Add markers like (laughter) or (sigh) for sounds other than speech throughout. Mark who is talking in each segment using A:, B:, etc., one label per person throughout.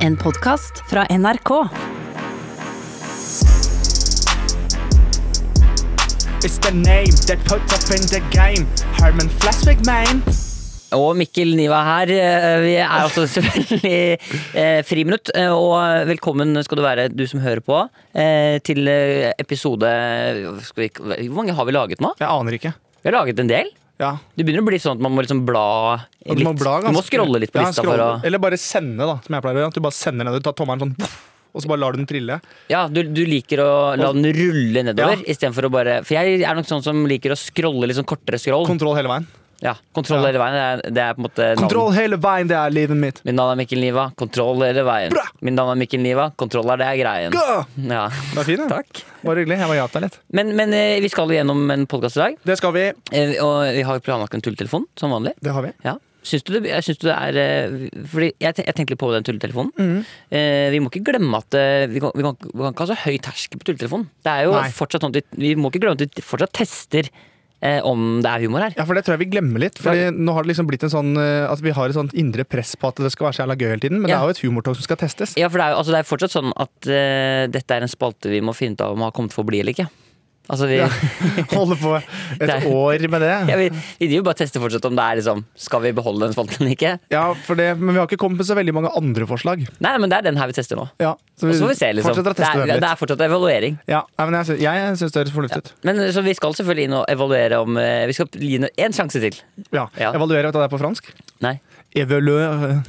A: En podkast fra NRK.
B: It's the name they put up in the game. Herman Flesvig, man.
C: Og Mikkel Niva her. eh, Vi er altså selvfølgelig eh, friminutt. eh, Og velkommen skal du være, du som hører på, eh, til eh, episode skal vi, ikke- Hvor mange har vi laget nå?
B: Jeg aner ikke.
C: Vi har laget en del.
B: Ja.
C: Det begynner å bli sånn at man må liksom bla
B: Og
C: litt.
B: Du må, bla
C: du må
B: ganske-
C: scrolle litt på
B: Ja,
C: lista.
B: scroll.
C: For å,
B: Eller bare sende, da, som jeg pleier å gjøre. At du bare sender ned, du tar tommelen sånn, og så bare lar du den trille.
C: ja, du, du liker å la den rulle nedover
B: Ja.
C: istedenfor å bare For jeg er nok sånn som liker å scrolle litt sånn kortere scroll.
B: Kontroll hele veien.
C: Ja, Kontroll
B: Ja.
C: hele veien. Det er, det er på en måte navnet.
B: Kontroll hele veien, det er livet mitt.
C: Min navn er Mikkel Niva. Kontroll hele veien.
B: Bra!
C: Min navn er Mikkel Niva. Kontroll er det er greien.
B: Gå!
C: Ja. (laughs)
B: Det er fint, ja.
C: Takk.
B: Bare hyggelig. Jeg bare hjalp deg litt.
C: Men, men eh, vi skal jo gjennom en podkast i dag,
B: Det skal vi.
C: eh, og vi har planlagt en tulletelefon som vanlig.
B: Det har vi.
C: Ja. Syns du det, jeg syns du det er eh, Fordi jeg, te- jeg tenkte litt på den tulletelefonen.
B: Mm.
C: Eh, vi må ikke glemme at eh, vi kan, vi, kan, vi kan ikke ha så høy terskel på tulletelefonen. Det er jo
B: Nei.
C: fortsatt sånn at vi, vi må ikke glemme at vi fortsatt tester eh, om det er humor her.
B: Ja, for det tror jeg vi glemmer litt. Fordi nå har det liksom blitt en sånn eh, At vi har et sånt indre press på at det skal være så jævla gøy hele tiden. Men det
C: Ja.
B: er jo et humortalk som skal testes.
C: Ja, for det er jo altså, det er fortsatt sånn at eh, dette er en spalte vi må finne ut av om har kommet for å bli eller ikke. Altså, vi,
B: Ja.
C: (laughs)
B: Holde på et
C: Det er-
B: år med det.
C: ja, vi, vi driver jo bare og tester fortsatt om det er liksom Skal vi beholde den spalten eller ikke?
B: Ja, for det, men vi har ikke kommet med så veldig mange andre forslag.
C: Nei, men det er den her vi tester nå.
B: Ja, så
C: Og så får vi se, liksom.
B: fortsetter å
C: Det
B: teste
C: er,
B: den
C: det
B: litt.
C: er fortsatt evaluering.
B: Ja, nei, men jeg, sy- jeg syns det høres fornuftig ut.
C: Men eh, så vi skal selvfølgelig inn og evaluere om eh, Vi skal gi den en sjanse til.
B: Ja.
C: Ja.
B: Evaluere, vet du hva det er på fransk?
C: Nei.
B: Evaluere (laughs)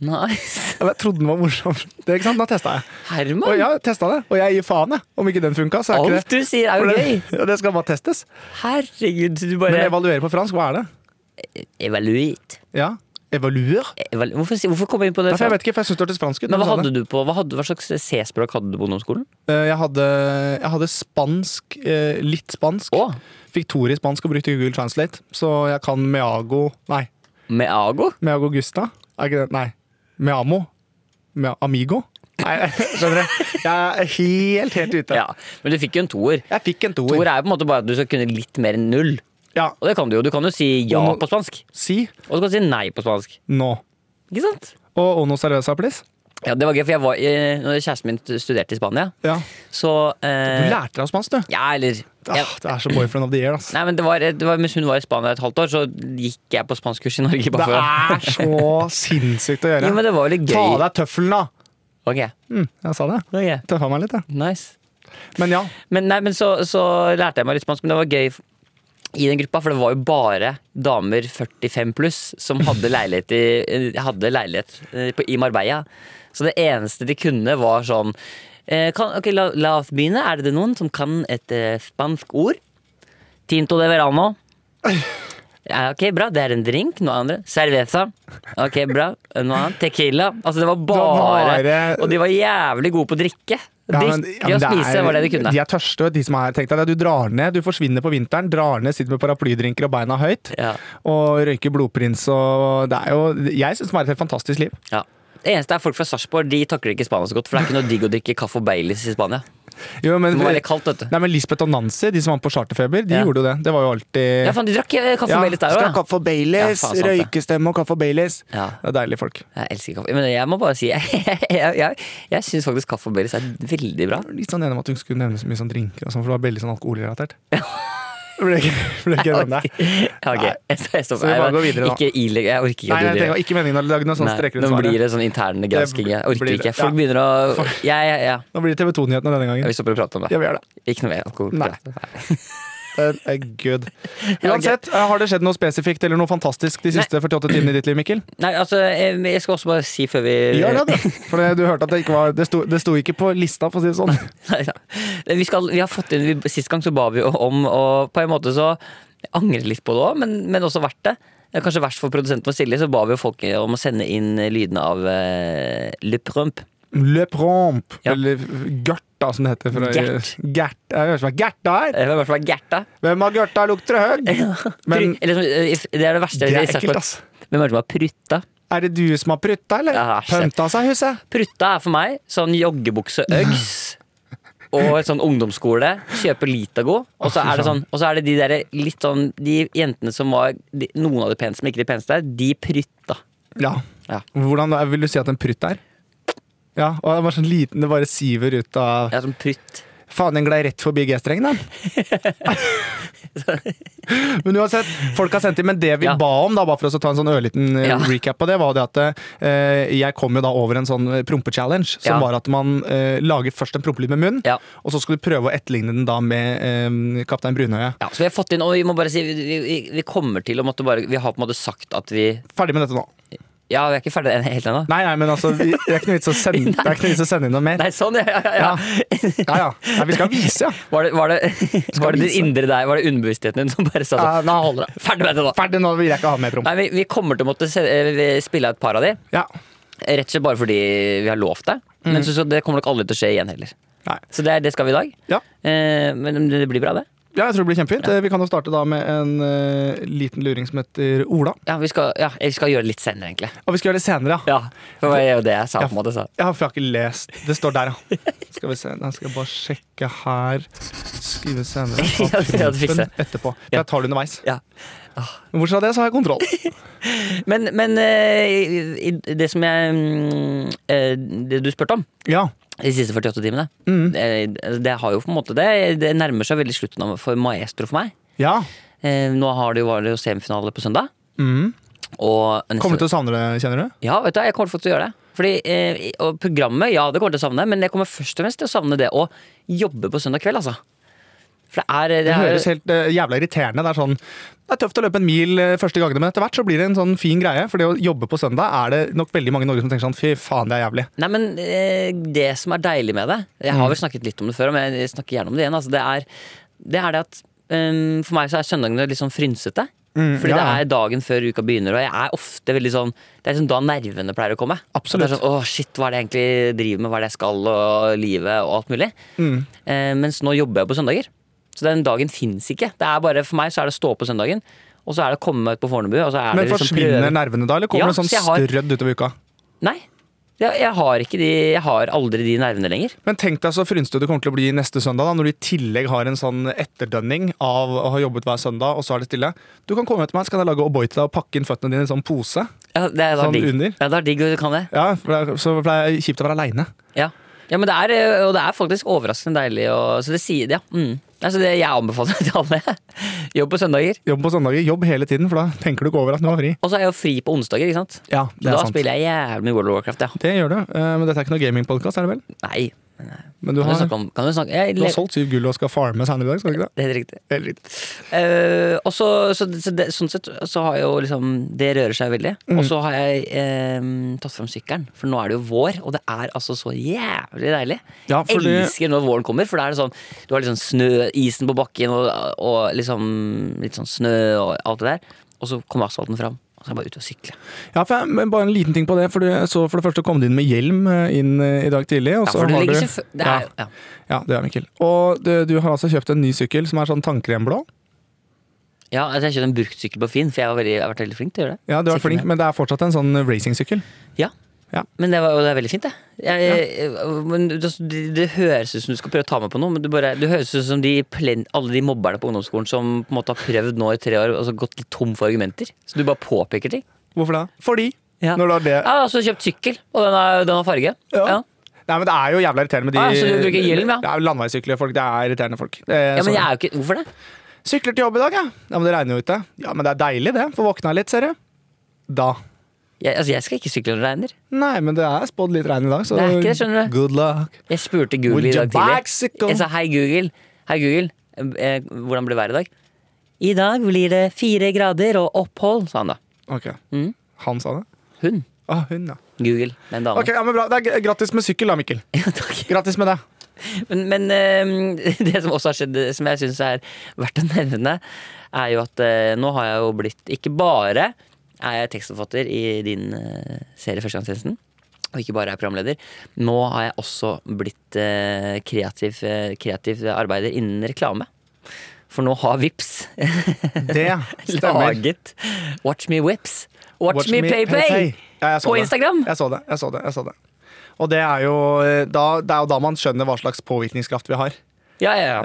C: Nice.
B: Jeg trodde den var morsom. Det, ikke sant? Da testa jeg. Og
C: Herman!
B: jeg testa det, og jeg gir faen jeg. om ikke den funka. Så er ikke
C: Alt
B: det
C: du sier er jo
B: for
C: gøy!
B: det, ja, det skal bare testes.
C: Herregud, så du
B: Men
C: bare
B: evaluere på fransk, hva er det?
C: Evaluert.
B: Ja, Evaluer?
C: Eval hvorfor, si- hvorfor kom vi inn på det?
B: Nei, for jeg vet ikke, for jeg syns det hørtes fransk ut.
C: Men
B: når du
C: hva
B: sa
C: hadde
B: det.
C: du på Hva, hadde, hva slags C-språk hadde du på ungdomsskolen?
B: Eh, Jeg hadde, jeg hadde spansk, eh, litt spansk.
C: Å!
B: Fikk Tor i spansk og brukte Google Translate, så jeg kan Meago Nei.
C: Med ago?
B: Meago Gusta? Er ikke det? Nei. Meamo? Mea amigo? Nei, (laughs) skjønner du? Jeg er helt, helt ute.
C: Ja. Men du fikk jo en toer.
B: Jeg fikk en toer.
C: Toer er jo på en måte bare at du skal kunne litt mer enn null.
B: Ja.
C: Og det kan du jo. Du kan jo si ja
B: Og nå-
C: på spansk.
B: Si
C: Og så kan du si nei på spansk.
B: nå.
C: Ikke sant?
B: Og ono cerveza, please.
C: Ja, det var gøy, for jeg var, eh, når kjæresten min studerte i Spania,
B: Ja.
C: så
B: Du
C: eh,
B: lærte deg spansk, du.
C: Ja, eller jeg,
B: Ah, det er så boyfriend of the year, ass.
C: Nei, men det var, det var Mens hun var i Spania et halvt år, så gikk jeg på spanskkurs i Norge.
B: Det
C: Bare for å-
B: er så sinnssykt å
C: jo, men
B: gjøre.
C: det var jo litt
B: Ta av
C: gøy.
B: deg tøffelen, da!
C: Ok,
B: Mm, jeg sa det.
C: ok,
B: Tøffa meg litt, jeg.
C: nice
B: Men ja.
C: Men, nei, men så, så lærte jeg meg litt spansk, men det var gøy f- i den gruppa, for det var jo bare damer 45 pluss som hadde
B: (laughs)
C: leilighet i, eh, hadde leilighet eh, på, i Marbella. Så det eneste de kunne, var sånn eh, kan, Ok, la, la oss begynne. Er det noen som kan et eh, spansk ord? Tinto de verano. Ja, ok, bra. Det er en drink. Noe andre. Cerveza. Ok, bra. Noe annet. Tequila. Altså, det var bare,
B: bare-
C: Og de var jævlig gode på å drikke.
B: Ja,
C: drikke
B: men- ja, men
C: og
B: det
C: spise
B: er-
C: var det de kunne.
B: De er tørste, vet du, de som er. Tenk deg det, du drar ned, du forsvinner på vinteren, drar ned, sitter med paraplydrinker og beina høyt,
C: Ja.
B: og røyker blodprins og Det er jo Jeg syns det er et helt fantastisk liv.
C: Ja. Det eneste er folk fra Sarpsborg. De takler ikke Spania så godt. For det er ikke noe digg å drikke kaffe og Baileys i Spania.
B: Jo, men,
C: Det må være kaldt, vet du.
B: Nei, men Lisbeth og Nancy, de som var med på Charterfeber, de
C: Ja.
B: gjorde jo det. Det var jo alltid
C: Ja, faen, de drakk eh, kaffe
B: Ja,
C: og Baileys der
B: skal ha
C: òg.
B: kaffe og Baileys,
C: Ja, faen, sant det.
B: røykestemme og kaffe og Baileys.
C: Ja.
B: Det er deilige folk.
C: Jeg elsker kaffe. Men jeg må bare si (laughs) jeg, jeg, jeg, jeg syns faktisk kaffe og Baileys er veldig bra.
B: Litt sånn enig om at hun skulle nevne så mye sånn drinker og sånn, for det var veldig sånn
C: (laughs)
B: alkoholrelatert. Ble ikke, ble ikke den der.
C: Ja, ok. (laughs)
B: Nei.
C: Jeg
B: Så
C: stopper.
B: vi bare går videre, da.
C: Ikke ileg- Jeg orker ikke
B: Nei, jeg
C: at du
B: tenker,
C: driver.
B: ikke meningen å lage noe sånn
C: Nei,
B: streker
C: nå
B: under
C: blir
B: svaret.
C: det sånn interne gransking. Jeg orker
B: blir det.
C: ikke. Folk
B: Ja.
C: begynner å Ja, ja, ja.
B: Nå blir det TV 2-nyhetene denne
C: Ja,
B: gangen.
C: Vi stopper å prate om
B: Ja,
C: det.
B: vi gjør det.
C: Ikke noe mer alkohol.
B: Nei.
C: Nei.
B: Den er good. Uansett, eh, har det skjedd noe spesifikt eller noe fantastisk de siste 48 timene i ditt liv, Mikkel?
C: Nei, altså, eh, men jeg skal også bare si før vi
B: Gjør det, du. Eh, (laughs) For det- du hørte at det ikke var Det sto, det sto ikke på lista, for å si det sånn.
C: Nei da. Vi, skal, vi har fått inn vi, Sist gang så ba vi jo om, og på en måte så jeg angrer litt på det òg, men, men også verdt det. Det er Kanskje verst for produsenten vår Silje, så ba vi jo folk om å sende inn lydene av eh, Le Prump.
B: Le promp,
C: Ja.
B: eller Gerta, som det heter. Fra,
C: Gert.
B: Gert. Jeg hører som er Gerta her!
C: Det var i hvert fall Gerta.
B: Hvem av Gerta lukter høg?
C: (laughs)
B: Men
C: Eller som- eh, det er det verste.
B: det
C: i
B: er
C: Sarpsborg.
B: ekkelt, ass.
C: Hvem er det som har prutta?
B: Er det du som har prutta,
C: Ja,
B: eller?
C: æsj.
B: Pønta seg, huset.
C: Prutta er for meg sånn
B: (laughs)
C: joggebukse-uggs. Og et sånn ungdomsskole. Kjøpe Litago. Og så er det sånn, og så er det de der litt sånn De jentene som var de, Noen av de peneste, men ikke de peneste, de prutta.
B: Ja.
C: Ja.
B: Hvordan vil du si at en prutt er? Ja, og det var sånn liten, det bare siver ut av
C: Ja, som prutt.
B: Faen, den glei rett forbi G-strengen,
C: (laughs)
B: da. men uansett, folk har sendt inn. Men det vi
C: Ja.
B: ba om, da, bare for oss å ta en sånn ørliten eh,
C: Ja.
B: recap på det, var det at eh, jeg kom jo da over en sånn eh, prompe-challenge, som
C: Ja.
B: var at man eh, lager først en prompelyd med munnen,
C: Ja.
B: og så skulle du prøve å etterligne den da med eh, Kaptein Brunøye.
C: Ja, så vi har fått inn, og vi må bare si, vi, vi, vi kommer til å måtte bare Vi har på en måte sagt at vi
B: Ferdig med dette nå.
C: Ja, vi er ikke ferdig helt ennå.
B: Nei, nei, men altså, vi, det er ikke noe vits å
C: (laughs)
B: sende, det er ikke noe vits å sende inn noe mer.
C: Nei, sånn, ja, ja, ja.
B: Ja, ja. Nei, vi skal
C: (laughs)
B: vise, ja.
C: Var det,
B: (laughs)
C: var det, var det
B: vise.
C: din indre deg, var det underbevisstheten din som bare sa sånn
B: Ja, Nå holder det.
C: Ferdig med det nå!
B: Ferdig nå, vil jeg ikke ha mer promp.
C: Nei, vi, vi kommer til å måtte se, eh, spille av et par av de.
B: Ja.
C: Rett og slett bare fordi vi har lovt det. Men så, så det kommer nok aldri til å skje igjen heller.
B: Mm. Nei.
C: Så det, er- det skal vi i dag.
B: Ja.
C: Eh, men det blir bra, det.
B: Ja, jeg tror det blir kjempefint. Eh, Vi kan jo starte da med en eh, liten luring som heter Ola.
C: Ja, vi skal, ja, vi skal gjøre det litt senere, egentlig.
B: Og vi skal gjøre det senere, ja.
C: Ja, for det er jo det jeg sa.
B: Ja.
C: på en måte så.
B: Ja, for jeg har ikke lest. Det står der,
C: (laughs)
B: ja. Skal vi se. Nei, skal jeg bare sjekke her. Skrive
C: (laughs)
B: senere. Ta
C: Ja, det hadde fikset.
B: prompen etterpå. For jeg tar det underveis.
C: Ja. Ah.
B: Men bortsett fra det, så har jeg
C: (laughs)
B: kontroll.
C: Men, men eh, i- i- det som jeg mm, eh, Det du spurte om
B: Ja. Mm.
C: de siste 48 timene, eh, det har jo på en måte det, det nærmer seg veldig slutten av- for Maestro for meg.
B: ja.
C: Eh, Nå har det jo vært jo semifinale på søndag.
B: Mm.
C: Og
B: Kommer du til å savne det, kjenner du?
C: Ja, vet du, hva, jeg kommer fortsatt til å gjøre det. Fordi, eh, og programmet, ja, det kommer jeg til å savne, men jeg kommer først og fremst til å savne det å jobbe på søndag kveld, altså. For det er, det
B: Det
C: er
B: høres helt eh, jævla irriterende. Det er sånn Det er tøft å løpe en mil eh, første gangene, men etter hvert så blir det en sånn fin greie. For det å jobbe på søndag er det nok veldig mange i Norge som tenker sånn fy faen, det er jævlig.
C: Nei, men eh, det som er deilig med det Jeg
B: Mm.
C: har vel snakket litt om det før, men jeg snakker gjerne om det igjen. Altså, det, er, det er det at eh, For meg så er søndagene litt sånn frynsete.
B: Mm,
C: fordi
B: ja,
C: det
B: ja.
C: er dagen før uka begynner, og jeg er ofte veldig sånn Det er liksom da nervene pleier å komme. At Det er
B: Absolutt.
C: sånn, Åh, shit, hva er det jeg egentlig driver med, hva er det jeg skal, og livet, og alt mulig.
B: Mm.
C: Eh, mens nå jobber jeg på søndager. Så den dagen fins ikke. Det er bare, for meg så er det å stå opp på søndagen, og så er det å komme meg ut på Fornebu. Og så er
B: Men
C: det liksom
B: forsvinner
C: prøve-
B: nervene da, eller kommer
C: Ja,
B: det sånn
C: så jeg har-
B: strødd utover uka?
C: Nei. Jeg, jeg, har ikke de, jeg har aldri de nervene lenger.
B: Men tenk deg så frynsete det kommer til å bli neste søndag, da, når du i tillegg har en sånn etterdønning av å ha jobbet hver søndag, og så er det stille. Du kan komme hjem til meg, så kan jeg lage O'boy til deg og pakke inn føttene dine i en sånn pose.
C: Ja, det er da
B: Sånn
C: digg.
B: under?
C: Ja, det er digg å kan det.
B: Ja, for det er, så for det er kjipt å være aleine.
C: Ja. ja, men det er, eh, og det er faktisk overraskende deilig. Og, så det sier det, ja. Mm. Nei, så det, jeg anbefaler det til alle. (laughs) Jobb på søndager.
B: Jobb på søndager, jobb hele tiden, for da tenker du ikke over at du har fri.
C: Og så er jeg jo fri på onsdager, ikke sant.
B: Ja, det
C: Da
B: er sant.
C: spiller jeg jævlig mye World of Warcraft, ja.
B: Det gjør du, eh, men dette er ikke noe gamingpodkast, er det vel?
C: Nei.
B: Men du
C: Kan du
B: har,
C: snakke om Kan du snakke jeg,
B: du har solgt syv gull og skal farme senere i dag, skal du ikke det?
C: Det er helt riktig.
B: Helt riktig.
C: Eh, og så, så, så det, sånn sett så har jeg jo liksom Det rører seg veldig.
B: Mm.
C: Og så har jeg eh, tatt frem sykkelen, for nå er det jo vår, og det er altså så jævlig deilig.
B: Ja, for det-
C: Elsker når våren kommer, for da er det sånn du har liksom snø, isen på bakken og, og liksom litt sånn snø og alt det der. Og så kommer asfalten fram, og så er jeg bare ute og sykle.
B: Ja, for jeg, men bare en liten ting på det. For, du, så for det første kom du inn med hjelm eh, inn eh, i dag tidlig. Og
C: Ja,
B: så
C: for det
B: har du,
C: ligger ikke fø- det er,
B: ja.
C: jo- ja.
B: Ja, det gjør Mikkel. Og du, du har altså kjøpt en ny sykkel som er sånn tannkremblå.
C: ja, altså jeg kjøpte en bruktsykkel på Finn, for jeg, var veldig, jeg har vært veldig flink til å gjøre det.
B: Ja, du er
C: Sykkelen
B: flink,
C: her.
B: men det er fortsatt en sånn racingsykkel.
C: Ja.
B: Ja.
C: Men det, var, og det er veldig fint, det. Jeg, jeg- men altså, det, det høres ut som du skal prøve å ta meg på noe, men du bare, det høres ut som de plen, alle de mobberne på ungdomsskolen som på en måte har prøvd nå i tre år og så gått litt tom for argumenter. Så du bare påpeker ting.
B: Hvorfor det? Fordi!
C: Ja.
B: Når du har det
C: Jeg har også kjøpt sykkel, og den har, den har farge.
B: Ja.
C: Ja.
B: Nei, men det er jo jævla irriterende med de
C: Ah, så du bruker hjelm, ja?
B: Det er jo landeveissykler, folk. Det er irriterende folk. Det er
C: Ja, men
B: sånn.
C: jeg er jo ikke, Hvorfor det?
B: Sykler til jobb i dag, ja. Ja, men det regner jo ute. Ja, men det er deilig, det. Få våkna litt, ser du. Da.
C: Jeg, altså, jeg skal ikke sykle når det regner.
B: Nei, men det er spådd litt regn i dag, så
C: Det er ikke det, skjønner du.
B: good luck.
C: Jeg spurte Google
B: Would
C: i
B: you
C: dag tidlig.
B: bicycle?
C: Jeg sa hei, Google. Hei, Google. Eh, hvordan blir været i dag? I dag blir det fire grader og opphold, sa han da.
B: Ok.
C: Mm.
B: Han sa det?
C: Hun.
B: Å, hun, ja.
C: Google. Den damen.
B: Ok, ja, men bra. Det er g- Grattis med sykkel, da, Mikkel.
C: (laughs) Ja, takk.
B: Grattis med det.
C: (laughs) Men, men ehm, (laughs) det som også har skjedd, som jeg syns er verdt å nevne, er jo at eh, nå har jeg jo blitt Ikke bare er jeg tekstforfatter i din eh, serie Førstegangstjenesten, og ikke bare er programleder. Nå har jeg også blitt eh, kreativ, eh, kreativ arbeider innen reklame. For nå har Vips (laughs)
B: Det stemmer.
C: laget Watch Me Whips. Watch, Me Pay Pay! Sånn,
B: Ja, jeg så
C: På
B: det.
C: Instagram.
B: Jeg så det. jeg så det, jeg så det. Og det er, jo, eh, da, det er jo da man skjønner hva slags påvirkningskraft vi har.
C: Ja, ja, ja.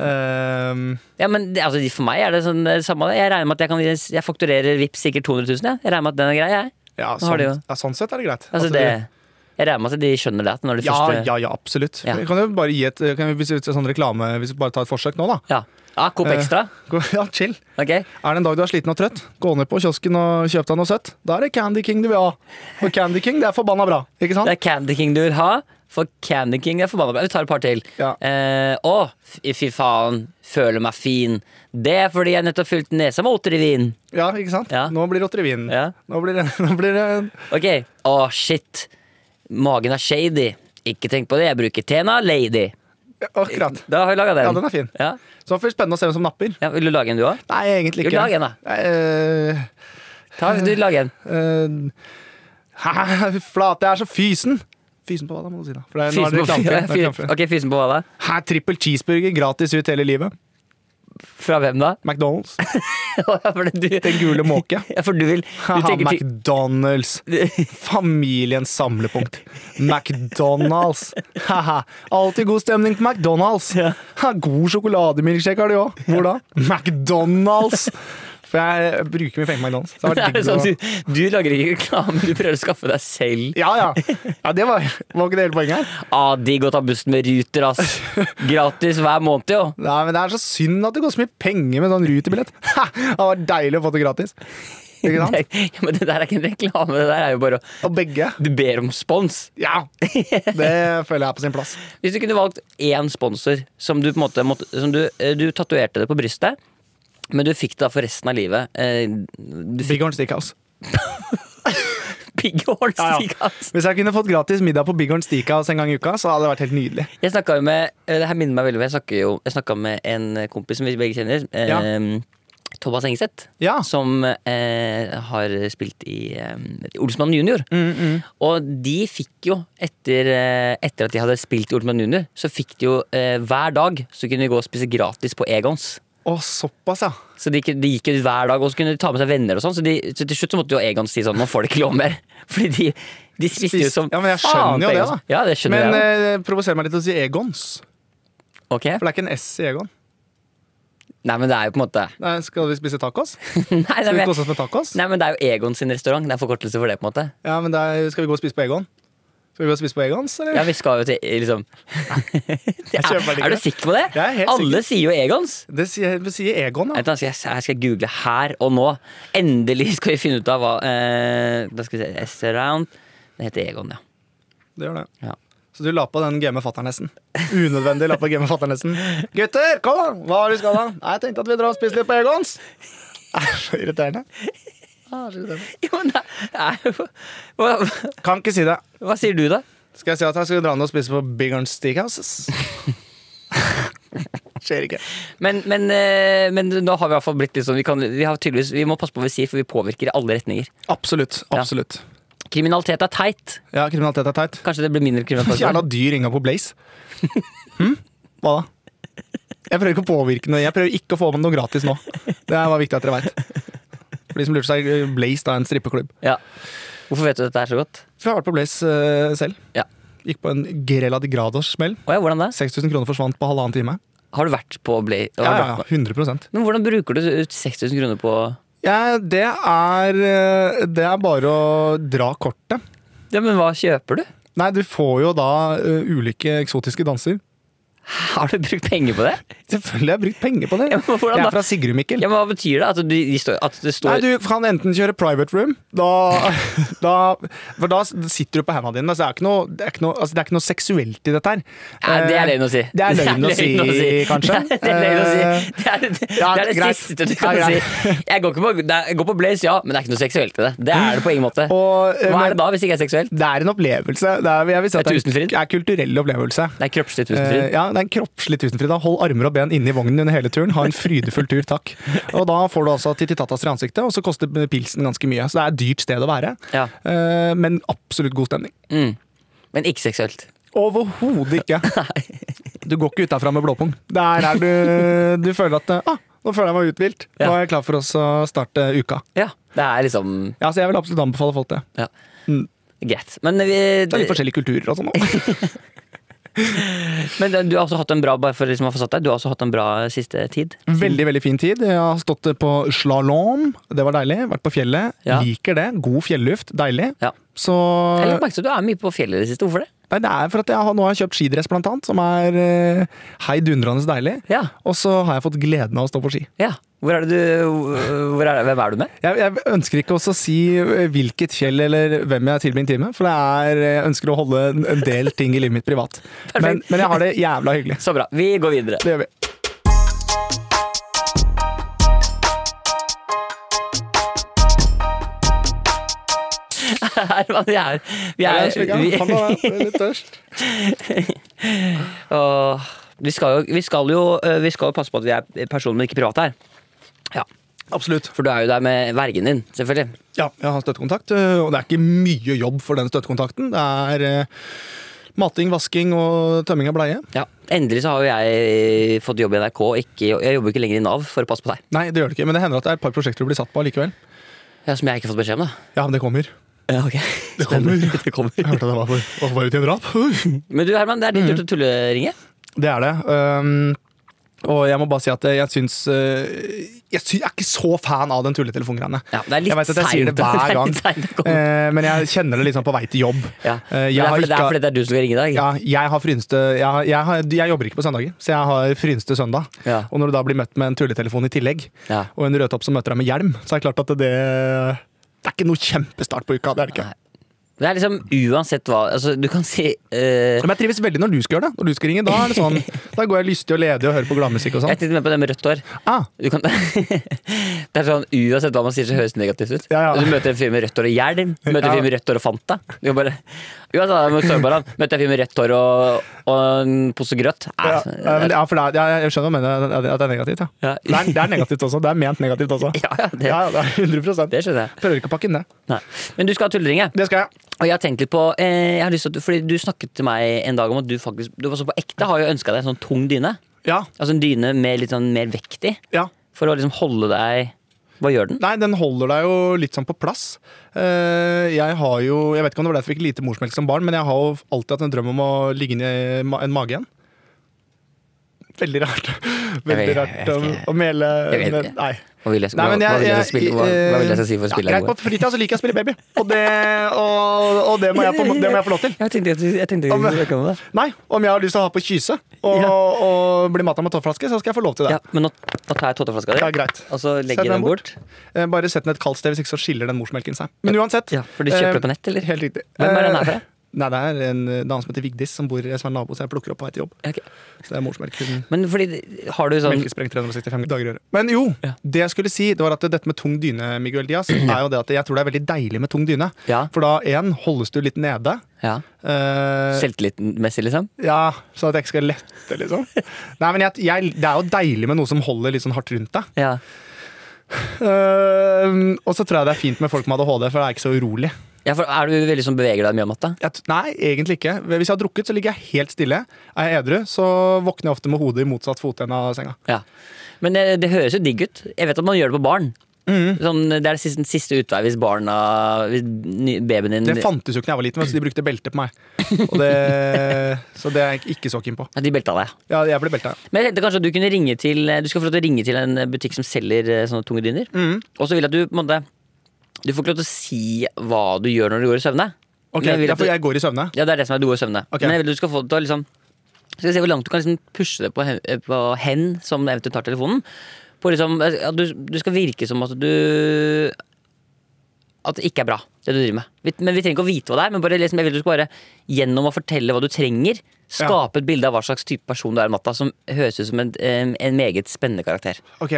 B: Ehm,
C: Ja, men det, altså, For meg er det sånn det samme. Jeg regner med at jeg, kan, jeg fakturerer Vipps sikkert 200 000. Jeg, jeg regner med at den er grei. jeg.
B: ja,
C: har
B: sånn,
C: de jo.
B: ja, sånn sett er det greit.
C: Altså,
B: At
C: det,
B: du,
C: Jeg regner med at de skjønner det. at Når de
B: Ja,
C: første...
B: ja, ja, absolutt.
C: Ja.
B: Vi Kan jo bare gi et kan vi, hvis vi- sånn reklame, hvis vi bare tar et forsøk nå, da. (laughs)
C: Ja. Ja, Coop
B: Eh.
C: Extra.
B: Gå- Ja, chill.
C: Ok.
B: Er det en dag du er sliten og trøtt, gå ned på kiosken og kjøp deg noe søtt. Da er det Candy King du vil ha. For Candy King det er forbanna bra. Ikke sant?
C: Det er Candy King du vil ha, for Candy King er forbanna bra. Vi tar et par til.
B: Ja.
C: Eh, å, fy fy faen, føler meg fin. Det er fordi jeg nettopp fylte nesa med ottervin.
B: Ja, ikke sant?
C: Ja.
B: Nå blir det Ottervin.
C: Ja.
B: Nå blir det, (laughs) nå blir det
C: Ok. Å, shit. Magen er shady. Ikke tenk på det, jeg bruker Tena Lady.
B: ja, Akkurat.
C: Da har vi laga den.
B: Ja, den er fin.
C: Ja.
B: Så blir det spennende å se hvem som napper.
C: Ja, vil du lage en, du òg?
B: Nei, egentlig
C: Jo,
B: ikke.
C: lag en, da.
B: Eh,
C: Du lager en.
B: eh, (laughs) hæ, flate, jeg er så fysen. Fysen på hva da, må du si. da For det er, nå er det
C: Fysen på,
B: reklame for det, det er
C: (laughs) fyr-
B: reklame for det.
C: ok, fysen på hva da?
B: Hæ, trippel cheeseburger gratis ut hele livet.
C: Fra hvem (laughs) da?
B: McDonald's.
C: For du,
B: Den gule måke.
C: ja, for du vil (laughs) du
B: Haha,
C: tenker, (laughs) til-
B: McDonald's. Familiens samlepunkt. McDonald's. Haha. Alltid god stemning på McDonald's.
C: Ja.
B: Ha, god sjokolademilkshake har de òg. Hvor da? McDonald's! For jeg bruker mye penger på McDonald's.
C: (laughs)
B: Så det
C: er
B: har vært
C: det
B: digg å-
C: sånn, du, du lager ikke reklame, du prøver å skaffe deg selv.
B: ja, ja. ja, det var, var ikke det hele poenget her.
C: Ah, digg å ta bussen med Ruter,
B: (laughs)
C: ass. Gratis hver måned, jo.
B: Nei, men Det er så synd at det går så mye penger med sånn Ruter-billett. (laughs) Ha, Det hadde vært deilig å få det gratis. Ikke sant?
C: (laughs) Det, ja, men det der er ikke en reklame, det der er jo bare å
B: Og begge.
C: Du ber om spons.
B: Ja! Det føler jeg er på sin plass.
C: Hvis du kunne valgt én sponsor som du på en måte måtte, som du, eh, du tatoverte det på brystet, men du fikk det da for resten av livet. Eh, Du fikk
B: Big Horn Steakhouse.
C: (laughs) pigghorn,
B: Ja, ja.
C: stikk, ass.
B: Hvis jeg kunne fått gratis middag på Big Horn Steakhouse en gang i uka, så hadde det vært helt nydelig.
C: Jeg snakket jo med eh, Det her minner meg veldig om Jeg snakket jo- jeg snakket med en kompis som vi begge kjenner. eh,
B: Ja.
C: Thomas Engseth.
B: Ja.
C: Som eh, har spilt i eh, Olsmann junior.
B: Mm,
C: Og de fikk jo, etter, eh, etter at de hadde spilt i Olsmann junior, så fikk de jo eh, hver dag Så kunne de gå og spise gratis på Egons.
B: Å, såpass, ja.
C: Så de, kunne- de gikk jo hver dag og så kunne de ta med seg venner. og sånn Så, de, så til slutt så måtte jo Egons si sånn Nå får de ikke lov mer. (laughs) Fordi de, de spiste jo
B: Spis-
C: som
B: Ja, men jeg
C: faen
B: skjønner jo
C: på
B: det,
C: Egons.
B: da.
C: Ja, det skjønner
B: Men
C: jeg.
B: eh, provoserer meg litt å si Egons.
C: da. Ok.
B: For det er ikke en S i Egon.
C: Nei, men det er jo på en måte
B: Nei, skal vi spise
C: (laughs)
B: tacos?
C: Nei, nei,
B: Skal vi
C: men,
B: kose oss med tacos?
C: nei, men det er jo Egon sin restaurant. Det er forkortelse for det. på en måte
B: Ja, men da Skal vi gå og spise på Egon? Skal vi gå og spise på Egons,
C: Ja,
B: eller?
C: vi skal jo til liksom (laughs)
B: Jeg kjøper
C: er,
B: det ikke.
C: er du sikker på det?
B: Jeg er helt
C: Alle sier jo Egons.
B: Det sier, det sier Egon,
C: Vent
B: da.
C: da, skal Jeg jeg skal google her og nå. Endelig skal vi finne ut av hva eh, Da skal vi se S-Round. Det heter Egon, ja.
B: Det gjør det.
C: Ja.
B: Så du la på den game fatternessen. Unødvendig la på game
C: (laughs)
B: fatternessen. Gutter, kom da! Hva har du skal da? Nei, jeg tenkte at vi drar og spiser litt på
C: (laughs)
B: Egons. Det er så irriterende. Ah, så irriterende.
C: Jo, men det er jo hva,
B: Kan ikke si det.
C: hva sier du, da?
B: Skal jeg si at jeg skal dra ned og spise på Big Horn
C: (laughs)
B: Steakhouses? Skjer ikke.
C: Men, men, eh, men nå har vi i hvert fall blitt litt sånn vi, kan, vi, har tydeligvis, vi må passe på hva vi sier, for vi påvirker i alle retninger.
B: Absolutt. absolutt.
C: Kriminalitet er teit.
B: Ja, kriminalitet er teit.
C: Kanskje det blir mindre kriminalitet.
B: Jævla dyr ringa på Blaze. (laughs) Hm? Hva da? Jeg prøver ikke å påvirke noe. Jeg prøver ikke å få med noe gratis nå. Det var viktig at dere veit. For de som lurte seg, eh, Blaze da er en strippeklubb.
C: Ja. Hvorfor vet du dette er så godt?
B: For jeg har vært på Blaze eh, selv.
C: Ja.
B: Gikk på en Grela de Grados-smell.
C: Åja, hvordan det?
B: 6000 kroner forsvant på halvannen time.
C: Har du vært på Blay?
B: Ja, ja, ja, 100
C: Men hvordan bruker du ut 6000 kroner på
B: ja, det, er, eh, det er bare å dra kortet.
C: Ja, men hva kjøper du? (laughs)
B: Nei, du får jo da ø, ulike eksotiske danser.
C: Har du brukt penger på det?
B: Selvfølgelig har jeg brukt penger på det.
C: Ja, men hvordan
B: jeg
C: da?
B: er fra Sigrud, Mikkel.
C: Ja, men Hva betyr det? At, du, de står, at det
B: Nei,
C: står
B: du kan enten kjøre private room, da, (laughs) da For da sitter du på hendene dine. Så det er ikke noe, det er ikke noe, altså, det er ikke noe seksuelt i dette her.
C: Nei, (laughs) Det
B: Eh,
C: er løgn å si.
B: Det er løgn å si, kanskje.
C: (laughs)
B: Eh,
C: Det er løgn å si. Det er det,
B: ja,
C: det, er det
B: greit.
C: siste du kan
B: Ja, greit.
C: si. Jeg går, ikke på, nei, jeg går på Blaze, ja, men det er ikke noe seksuelt i det. Det er det på ingen måte.
B: Og, eh,
C: Hva
B: men-
C: er det da, hvis det ikke er seksuelt?
B: Det er en opplevelse. Det er, jeg vil si at
C: Det er
B: det er,
C: tusenfryd.
B: det er en kulturell opplevelse.
C: Det er kroppslig
B: Eh,
C: tusenfryd.
B: ja, det er en kroppslig tusenfryd. da. Hold armer og ben inne i vognen under hele turen. Ha en frydefull tur, takk.
C: (laughs)
B: Og da får du altså tititatas i ansiktet, og så koster pilsen ganske mye. Så det er et dyrt sted å være,
C: Ja. Mm.
B: Eh, men absolutt god stemning.
C: Men ikke seksuelt.
B: Overhodet
C: (laughs)
B: ikke. Du går ikke ut derfra med blåpung. Der er du Du føler at ah, nå føler jeg meg uthvilt. Nå er jeg klar for oss å starte uka.
C: Ja, Det er liksom
B: Ja, så Jeg vil absolutt anbefale folk det.
C: ja.
B: Mm.
C: Greit. Men eh, vi (laughs)
B: Det er litt forskjellige kulturer og sånn. også.
C: Men eh, du har også hatt en bra bare for liksom å få satt deg, du har også hatt en bra eh, siste tid.
B: Veldig veldig fin tid. Jeg har stått på slalåm. Det var deilig. Vært på fjellet.
C: Ja.
B: Liker det. God fjelluft. Deilig.
C: Ja.
B: Så
C: Jeg legger merke til at du er mye på fjellet i det siste. Hvorfor det?
B: Nei, Det er for at jeg har, nå har jeg kjøpt skidress, blant annet, som er eh, heidundrende deilig.
C: Ja.
B: Og så har jeg fått gleden av å stå på ski.
C: ja. Hvor er det du hvor er det, Hvem er du med?
B: Jeg, jeg ønsker ikke også å si eh, hvilket fjell eller hvem jeg tilbringer tid med, for det er, eh, jeg ønsker å holde en- en del ting i livet mitt (laughs) privat. Men, men jeg har det jævla hyggelig.
C: Så bra. Vi går videre. (laughs)
B: Det gjør vi.
C: Her, vi er, vi
B: Er
C: er,
B: det en slik, ja?
C: vi,
B: Faen, da er jeg litt tørst.
C: Åh, vi skal jo, vi skal jo, eh, vi skal jo passe på at vi er personer, men ikke private her. Ja,
B: (laughs) Absolutt.
C: For du er jo der med vergen din, selvfølgelig.
B: Ja, jeg har støttekontakt, øh, og det er ikke mye jobb for den støttekontakten. Det er eh, mating, vasking og tømming av bleie.
C: Ja. Endelig så har jo jeg fått jobb i NRK. Ikke, jeg jobber ikke lenger i Nav for å passe på deg.
B: Nei, det gjør det ikke, men det hender at det er et par prosjekter du blir satt på allikevel.
C: Ja, som jeg ikke har fått beskjed om, da.
B: Ja, men det kommer.
C: Ja, ok.
B: Det kommer.
C: (laughs) Det kommer.
B: Jeg hørte at det var for, var for ute i en drap.
C: Men du Herman, det er
B: Mm.
C: din tur til å tulleringe.
B: Det er det. Øhm, og jeg må bare si at jeg syns øh, Jeg sy- jeg er ikke så fan av den tulletelefonen-greiene.
C: Ja, det er litt
B: jeg vet at jeg sier det
C: seint. (laughs) Det
B: hver
C: er
B: gang,
C: litt seint å komme.
B: eh, men jeg kjenner det liksom på vei til jobb.
C: Ja.
B: Eh,
C: Det
B: jeg
C: er
B: har
C: fordi- det
B: ikke-
C: er fordi det er du som skal ringe i dag.
B: Ja, jeg har frynste jeg, har, jeg, har, jeg jobber ikke på søndager, så jeg har frynste søndag.
C: Ja.
B: Og når du da blir møtt med en tulletelefon i tillegg,
C: Ja.
B: og en rødtopp som møter deg med hjelm, så er det klart at det Det er ikke noe kjempestart på uka. det er det ikke.
C: Det er liksom uansett hva altså, Du kan si eh,
B: Men jeg trives veldig når du skal gjøre det. Når du skal ringe, Da er det sånn,
C: (laughs)
B: da går jeg lystig og ledig og hører på gladmusikk og
C: Jeg
B: sånn.
C: tenkte mer på det med rødt hår.
B: Ah,
C: Du kan, (laughs) det er sånn, Uansett hva man sier, så høres det negativt ut. Altså,
B: Ja, ja.
C: Du møter en fyr med rødt hår og hjelm. Du møter en
B: Ja.
C: fyr med rødt hår og Fanta. Du kan bare, uansett, hva man står foran, møter en fyr med rødt hår og, og en pose grøt. Altså, Nei,
B: ja, ja, men- ja, for det er, jeg- jeg skjønner hva du mener, at det er negativt. Ja.
C: Ja.
B: Det, er, det er negativt også. Det er ment negativt også.
C: ja, ja, det,
B: Ja, ja, det er 100
C: det skjønner jeg.
B: Prøver ikke å pakke inn det.
C: Nei. Men du skal ha tulleringe.
B: Det skal jeg.
C: Og jeg har tenkt litt på eh, jeg har lyst til at, du- Fordi du snakket til meg en dag om at du faktisk Du var så på ekte har jo ønska deg en sånn tung dyne.
B: Ja,
C: Altså en dyne med litt sånn mer vekt i.
B: ja.
C: For å liksom holde deg Hva gjør den?
B: Nei, den holder deg jo litt sånn på plass. Eh, Jeg har jo, jeg vet ikke om det var derfor jeg fikk lite morsmelk som barn, men jeg har jo alltid hatt en drøm om å ligge inni ma- en mage igjen. Veldig rart. (laughs) Veldig
C: vet- jeg
B: rart
C: vet
B: å,
C: ikke.
B: å mele
C: Jeg vet
B: men-
C: ikke.
B: Nei.
C: Hva vil jeg,
B: Nei, men
C: hva,
B: jeg, eh,
C: hva vil jeg, spille, hva, hva vil jeg skal si for å
B: ja,
C: spille?
B: greit,
C: den gode?
B: På fritida så liker jeg å spille baby, og det, og, og det må jeg få, det må jeg få lov
C: (laughs)
B: til.
C: Jeg tenkte, jeg tenkte
B: Om-
C: jeg kom med det.
B: Nei, om jeg har lyst til å ha på kyse og,
C: Ja.
B: og bli mata med tåflaske, så skal jeg få lov til det.
C: Ja, men nå, nå tar jeg totteflaska
B: Det
C: di,
B: er greit.
C: og så
B: Sett
C: legger jeg den bort.
B: Eh, Bare sett den et kaldt sted, hvis ikke så skiller den morsmelken seg. Men uansett.
C: Ja, for du
B: eh,
C: kjøper det på nett, eller?
B: Helt riktig.
C: Hvem er den her fra?
B: (laughs) Eh, Nei, Det er en eh, dame som heter Vigdis, som bor som er nabo, så jeg plukker opp på vei til jobb.
C: Ja, ok.
B: Så det er morsmelk. Hun
C: Men fordi, har du sånn
B: melkespreng 365 dager i året. Men jo,
C: Ja.
B: det jeg skulle si, det var at dette med tung dyne, Miguel
C: (clears throat)
B: Diaz, er jo det at jeg tror det er veldig deilig med tung dyne.
C: Ja.
B: For da, én, holdes du litt nede.
C: ja,
B: eh,
C: selvtillitsmessig, liksom?
B: ja, sånn at jeg ikke skal lette, liksom.
C: (laughs)
B: Nei, men jeg, jeg, Det er jo deilig med noe som holder litt sånn hardt rundt deg.
C: Ja.
B: Eh, og så tror jeg det er fint med folk med ADHD, for det er ikke så urolig.
C: ja, for er du veldig sånn beveger deg mye om natta?
B: Jeg, t- nei, egentlig ikke. Hvis jeg har drukket, så ligger jeg helt stille. Er jeg edru, så våkner jeg ofte med hodet i motsatt fotende av senga.
C: Ja. Men det, det høres jo digg ut. Jeg vet at man gjør det på barn. Sånn, det er den siste, siste utvei hvis barna Hvis ny- babyen din
B: Det fantes jo ikke da jeg var liten, men så de brukte belte på meg. Og det,
C: (laughs)
B: så det er jeg ikke så keen på.
C: ja, De belta deg.
B: Ja, jeg ble belta.
C: Men jeg tenkte kanskje at du kunne ringe til eh, Du skal få lov til å ringe til en butikk som selger eh, sånne tunge dyner. Og så vil jeg at du på en måte Du får ikke lov til å si hva du gjør når du går i søvne.
B: Ok,
C: Men jeg vil at
B: derfor
C: du-
B: jeg går i søvne.
C: Ja, det er det som er du går i søvne.
B: Ok.
C: Men jeg vil at du skal få det til å liksom Skal vi se hvor langt du kan liksom pushe det på hen, eh, på hen som eventuelt tar telefonen. På liksom, eh, at du, du skal virke som at du At det ikke er bra, det du driver med. Vi, men Vi trenger ikke å vite hva det er, men bare liksom, jeg vil at du skal bare gjennom å fortelle hva du trenger, skape et bilde av hva slags type person du er om natta, som høres ut som en, eh, en meget spennende karakter.
B: Ok,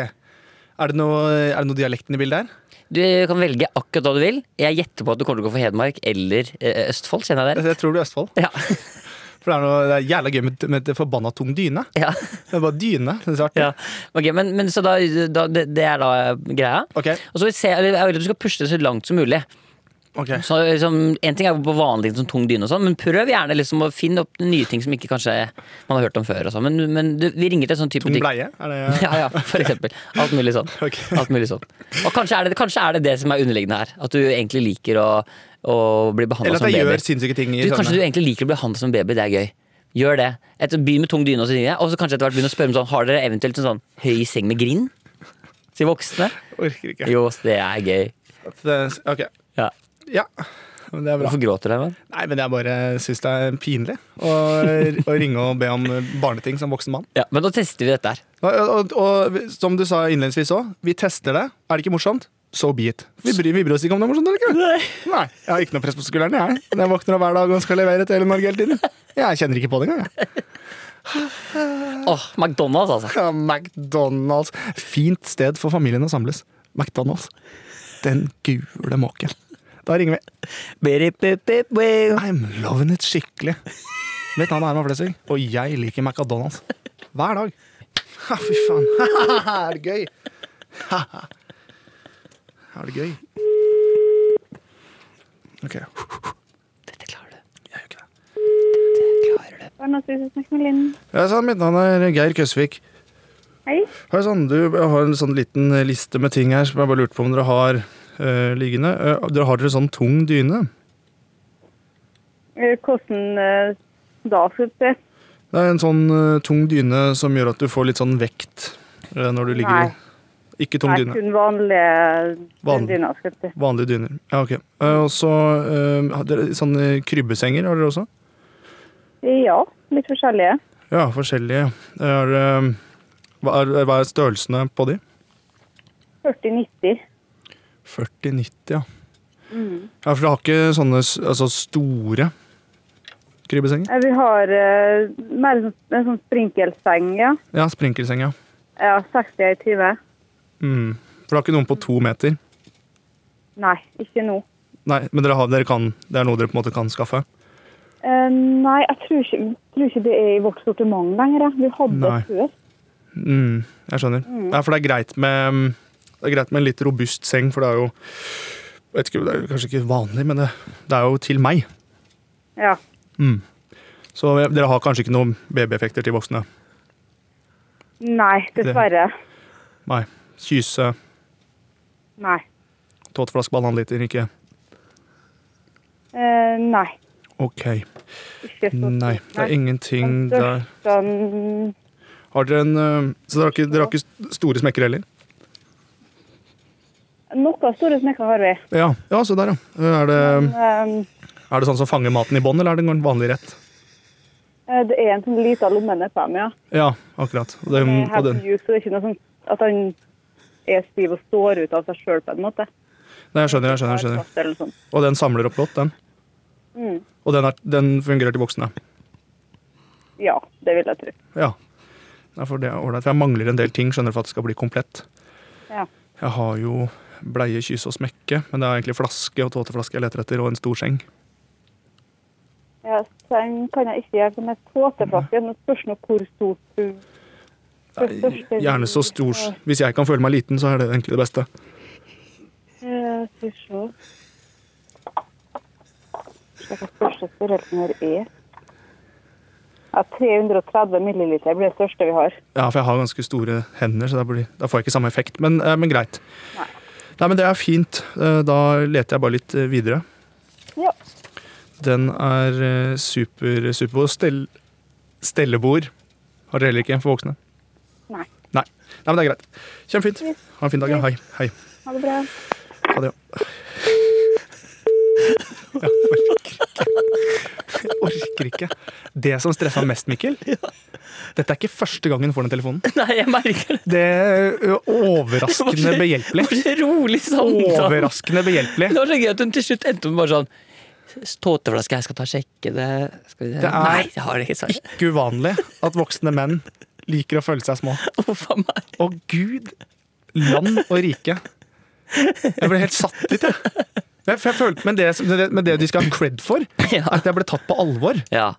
B: Er det noe, er det noe dialekten i bildet her?
C: Du kan velge akkurat hva du vil. Jeg gjetter på at du kommer til å gå for Hedmark eller eh, Østfold. Kjenner jeg det?
B: Jeg tror du er Østfold.
C: Ja.
B: For det er, noe, det er jævla gøy med, med det forbanna tung dyne.
C: ja. (laughs)
B: Det er bare dyne. Det er så artig.
C: Ja, ok, men, men så da, da det, det er da greia.
B: Ok,
C: Og så vil jeg se, eller jeg vil at du skal pushe det så langt som mulig.
B: ok.
C: Så liksom, En ting er jo på vanlig sånn tung dyne, og sånn, men prøv gjerne liksom å finne opp nye ting som ikke kanskje man har hørt om før. Og sånn. men men du, vi ringer til en sånn type
B: Tung
C: butikk.
B: bleie? Er det
C: (laughs) Ja, ja, for eksempel. Alt mulig sånn.
B: (laughs) Ok.
C: Alt mulig sånn. Og kanskje er, det, kanskje er det det som er underliggende her. At du egentlig liker å, å bli behandla
B: Eller at
C: som en
B: jeg gjør
C: baby.
B: sinnssyke ting i
C: Du, kanskje du
B: søvne.
C: egentlig liker å bli behandla som en baby. Det er gøy. Gjør det. Et, begynn med tung dyne, og så, sier jeg, og så kanskje etter hvert begynne å spørre om sånn, har dere eventuelt en sånn høy seng med grind? Til voksne?
B: Orker ikke.
C: Jo, så det er gøy.
B: At det- Ok.
C: Ja.
B: Ja. Men det er bra.
C: Hvorfor gråter du? mann?
B: Nei, men jeg bare syns det er pinlig å, å ringe og be om eh, barneting som voksen mann.
C: Ja, men da tester vi dette her.
B: Og, og, og som du sa innledningsvis òg, vi tester det. Er det ikke morsomt? So be it. Vi bryr, vi bryr oss ikke om det er morsomt eller ikke.
C: Nei.
B: Nei, Jeg har ikke noe press på skulderen, jeg. Men Jeg våkner opp hver dag og skal levere til hele Norge hele tiden. Jeg kjenner ikke på det engang. jeg.
C: Åh, McDonald's, altså.
B: Ja, McDonald's. Fint sted for familien å samles. McDonald's. Den gule måken. Da ringer vi. I'm loving it skikkelig. Mitt navn er Herman Flesvig, og jeg liker McDonald's. Hver dag. Ha, fy faen. (laughs) er det gøy? er det gøy? Ok.
C: Dette klarer du.
B: Jeg gjør ikke det.
C: Dette klarer du.
D: Barnehagehuset snakker med Linn.
B: Hei sann, mitt navn er Geir Køsvik.
D: Hei.
B: Hei sann, du jeg har en sånn liten liste med ting her som jeg bare lurte på om dere har eh, liggende. Eh, dere har dere sånn tung dyne?
D: Eh, Hvordan eh, da, synes du?
B: Det er en sånn eh, tung dyne som gjør at du får litt sånn vekt eh, når du ligger
D: Nei.
B: i. Ikke tung
D: Nei,
B: dyne.
D: kun vanlige eh,
B: Vanlig.
D: dyna, skulle jeg si.
B: Vanlige dyner. Ja, ok. Eh, Og så eh, har dere sånne krybbesenger har dere også?
D: Ja, litt forskjellige.
B: Ja, forskjellige. Er, eh, hva, er, hva er størrelsene på de?
D: 40-90.
B: 40-90, ja. Ja, For dere har ikke sånne s- altså, store krybbesenger?
D: Eh, Vi har eh, mer sånn, en sånn sprinkelseng, ja.
B: Ja, sprinkelsenger. ja.
D: Ja, 60 i time.
B: Mm. For dere har ikke noen på to meter?
D: Nei, ikke nå.
B: Nei, men dere har, dere kan, det er noe dere på en måte kan skaffe?
D: Eh, nei, jeg tror ikke, tror ikke det er i vårt sortiment lenger. jeg. Vi hadde
B: Nei.
D: det før.
B: Mm, jeg skjønner. Ja, for det er greit med mm, Det er greit med en litt robust seng, for det er jo vet ikke, Det er jo kanskje ikke vanlig, men det, det er jo til meg.
D: Ja.
B: Så dere har kanskje ikke noen babyeffekter til voksne?
D: Nei, dessverre.
B: Nei. Kyse,
D: Nei.
B: tåteflaske, bananliter, ikke
D: Eh, nei.
B: OK.
D: Ikke så
B: Nei, det er ingenting
D: Den
B: der.
D: største, mm,
B: Har dere en øh, Så dere har ikke, dere har ikke store smekker heller?
D: Noe store snekker har vi.
B: Ja, ja se der, ja. Er det,
D: Um,
B: er det sånn som fanger maten i bånn, eller er det en vanlig rett?
D: eh, det er en sånn liten lomme nedpå dem, ja. Eh,
B: Ja, akkurat. Og den,
D: Den er
B: Mm, og
D: helt
B: den.
D: mjuk, så det er ikke noe sånn at han er stiv og står ut av seg sjøl, på en måte.
B: Nei, jeg skjønner, jeg skjønner. jeg skjønner.
D: Plass eller noe sånt.
B: Og den samler opp godt, den.
D: Mm.
B: Og den, er, den fungerer til voksne.
D: Ja, det vil jeg tro.
B: Ja. Nei, for det er ålreit. For jeg mangler en del ting skjønner du, for at det skal bli komplett.
D: Ja.
B: Jeg har jo bleie, kyse og smekke, men det er egentlig flaske og tåteflaske jeg leter etter, og en stor seng.
D: Ja, seng kan jeg ikke gjøre med tåteflaske. Nå spørs nå hvor stort du
B: Det er Gjerne så stor s- Hvis jeg kan føle meg liten, så er det egentlig det beste.
D: Eh, Skal vi se Skal jeg se hva største størrelsen her er. Ja, 330 milliliter blir det største vi har.
B: Ja, for jeg har ganske store hender, så da, blir, da får jeg ikke samme effekt. Men, eh, men greit. Nei, men det er fint. Eh, Da leter jeg bare litt eh, videre.
D: Ja.
B: Den er eh, super, super og stell, Stellebord har dere heller ikke for voksne?
D: Nei.
B: Nei. Nei, men det er greit. Kjempefint. Ha en fin dag. Ja. Hei. Hei.
D: Ha det bra.
B: Ha det. Ja. (laughs) Jeg orker ikke. (laughs) Jeg orker ikke. Det som stressa mest, (laughs) Mikkel Dette er ikke første gangen du får den telefonen.
C: (laughs) Nei, jeg merker det.
B: Det er overraskende
C: Det var så- (laughs)
B: (laughs) behjelpelig.
C: Det var så rolig samtale.
B: Overraskende behjelpelig.
C: Det var så gøy at hun til slutt endte med bare sånn Tåteflaske, jeg skal ta og sjekke det skal vi...
B: Det er-
C: Nei, jeg har det ikke sagt.
B: Ikke uvanlig at voksne menn liker å føle seg små.
C: (laughs) Huff a meg.
B: Å gud, land og rike. Jeg ble helt satt ut, jeg. jeg, jeg følte, men, det, men det- men det de skal ha cred for,
C: (laughs) Ja.
B: er at jeg ble tatt på alvor.
C: Ja.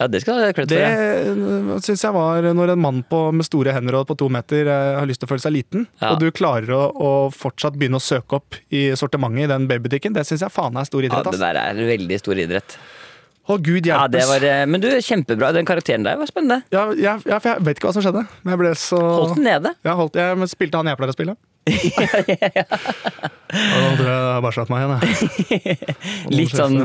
C: ja, det skal du ha kledd for. ja.
B: Det syns jeg var når en mann på, med store hender og på to meter eh, har lyst til å føle seg liten,
C: Ja.
B: og du klarer å, å fortsatt begynne å søke opp i sortimentet i den babybutikken, det syns jeg faen er stor
C: Ja,
B: idrett.
C: det
B: Ass.
C: der er en veldig stor idrett.
B: Å gud
C: Ja, det
B: hjelpes.
C: var, eh, men du, kjempebra. Den karakteren der var spennende.
B: Ja, jeg, ja, for jeg vet ikke hva som skjedde, men jeg ble så
C: Holdt den nede. (laughs)
B: Jeg, holdt, jeg spilte han jeg pleier å spille. Og da tror jeg jeg har bare slapp meg igjen. Jeg.
C: Litt sånn,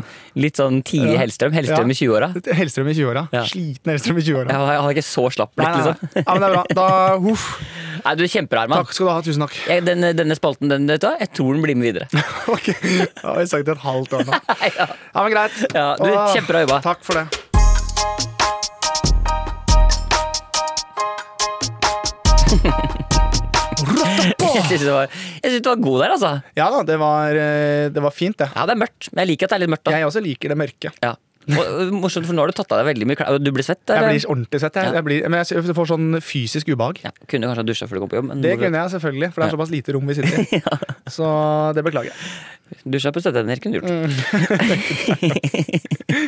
C: litt sånn tidlig
B: Ja.
C: Hellstrøm. Hellstrøm
B: Ja.
C: i 20-åra.
B: Hellstrøm i 20-åra.
C: Ja.
B: Sliten Hellstrøm i 20-åra.
C: Jeg har jeg har ikke så slapp blitt, liksom.
B: Ja, men det er bra. Da, huff.
C: Nei, du er kjempebra, Herman.
B: Takk skal du ha. Tusen takk.
C: Jeg, denne, denne spalten, den, vet du hva, jeg tror den blir
B: (laughs)
C: med videre.
B: Ok, Da har jeg sagt det et halvt år nå.
C: ja.
B: Ja, men greit.
C: Ja, du,
B: Åh,
C: kjempebra jobba.
B: Takk for det.
C: Jeg syns du var, jeg synes du var god der, altså.
B: Ja da, det var, eh, det var fint, det.
C: Ja, det er mørkt, men jeg liker at det er litt mørkt. da
B: Jeg også liker det mørke.
C: ja. Og, og Morsomt, for nå har du tatt av deg veldig mye klær. Du blir svett?
B: Jeg
C: eller?
B: blir ordentlig svett. Jeg,
C: Ja.
B: jeg blir, men jeg får sånn fysisk ubehag.
C: ja, kunne kanskje ha dusja før du kom på jobb. Men
B: Det kunne jeg selvfølgelig, for det er såpass lite rom vi
C: (laughs)
B: sitter i. Så det beklager jeg.
C: Dusja på støtteender kunne du gjort.
B: Mm. (laughs)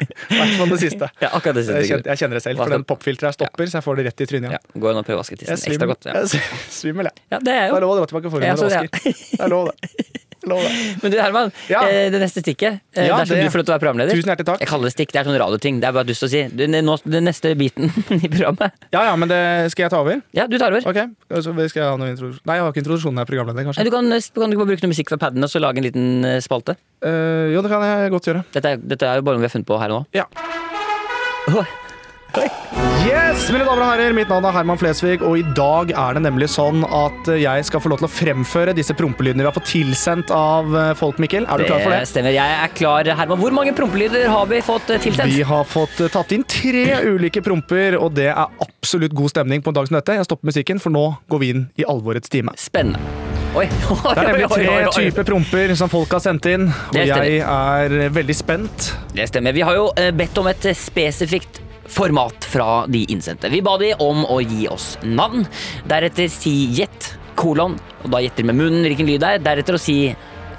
B: I hvert fall det siste.
C: (laughs) Ja, akkurat det siste.
B: Jeg kjenner, jeg kjenner det selv, for den popfilteret jeg stopper, så jeg får det rett i trynet
C: Ja,
B: igjen.
C: gå inn og prøv å vaske
B: Jeg
C: tissen ekstra
B: svim-
C: godt. Ja.
B: jeg sv- (laughs) svimmel, jeg.
C: ja, det er
B: Det er
C: jo
B: lov å dra tilbake for
C: Ja,
B: meg,
C: så det er-
B: Oskar. Det er lov, det. Lov,
C: (laughs)
B: det.
C: Men du, Herman,
B: Ja.
C: eh, det neste stikket, eh,
B: Ja,
C: dersom
B: det-
C: du får lov til å være programleder
B: Tusen hjertelig takk.
C: Jeg kaller det stikk, det er sånn radioting. Det er bare dust å si. Du, nå, den neste biten (laughs) i programmet.
B: Ja ja, men det skal jeg ta over?
C: Ja, du tar over.
B: Ok, så Skal jeg ha noe introduksjon? Nei, jeg har ikke introduksjonen her, programleder,
C: Nei,
B: kanskje.
C: Du kan, eh, kan du ikke bare bruke noe musikk fra paden og så lage en liten eh, spalte?
B: Eh, jo, det kan jeg godt gjøre.
C: Dette er, dette er jo bare noe vi har funnet på her nå.
B: Ja.
C: Oi.
B: Yes, mine damer og herrer, mitt navn er Herman Flesvig, og i dag er det nemlig sånn at jeg skal få lov til å fremføre disse prompelydene vi har fått tilsendt av eh, folk, Mikkel. Er du klar for det?
C: stemmer. Jeg er klar, Herman. Hvor mange prompelyder har vi fått eh, tilsendt?
B: Vi har fått eh, tatt inn tre ulike promper, og det er absolutt god stemning på en dag som dette. Jeg stopper musikken, for nå går vi inn i alvorets time.
C: Spennende. Oi, (laughs) oi,
B: Det er
C: oi,
B: nemlig
C: oi,
B: tre
C: oi, oi.
B: typer promper som folk har sendt inn, og
C: Det
B: jeg er eh, veldig spent.
C: Det stemmer. Vi har jo eh, bedt om et eh, spesifikt format fra de innsendte. Vi ba de om å gi oss navn, deretter si gjett, kolon, og da gjetter de med munnen hvilken lyd det er, deretter å si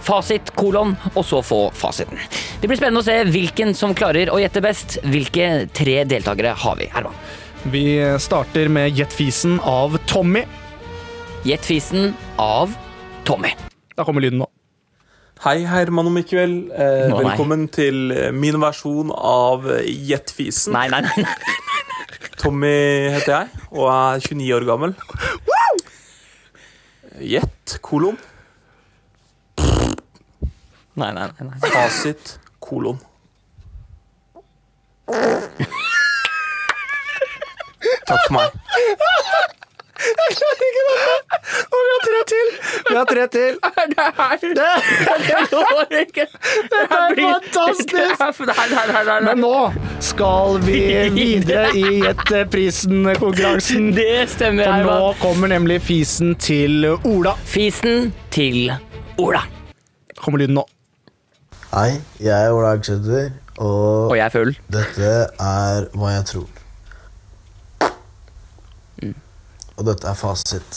C: fasit, kolon, og så få fasiten. Det blir spennende å se hvilken som klarer å gjette best. Hvilke tre deltakere har vi, Herman?
B: Vi eh, starter med Gjett fisen av Tommy.
C: Gjett fisen av Tommy.
B: Da kommer lyden nå.
E: Hei, Herman og Mikkel. Eh,
C: Å, nei.
E: velkommen til eh, min versjon av eh, Jetfisen.
C: Nei, nei, nei. nei.
E: Tommy heter jeg og er 29 år gammel. Jet, kolon.
C: nei, nei, nei, nei.
E: Fasit, kolon. Takk for meg.
B: Og vi har tre til! Vi har tre til.
C: (laughs) Dette
B: er
C: (laughs)
B: fantastisk! Men nå skal vi videre i Gjetteprisen-konkurransen.
C: Det stemmer,
B: For nå
C: Herman.
B: kommer nemlig fisen til Ola.
C: Fisen til Ola.
B: Kommer lyden nå.
F: Hei, jeg er Ola Agsæter, og
C: Og jeg er full.
F: dette er hva jeg tror.
C: Mm.
F: Og dette er fasit.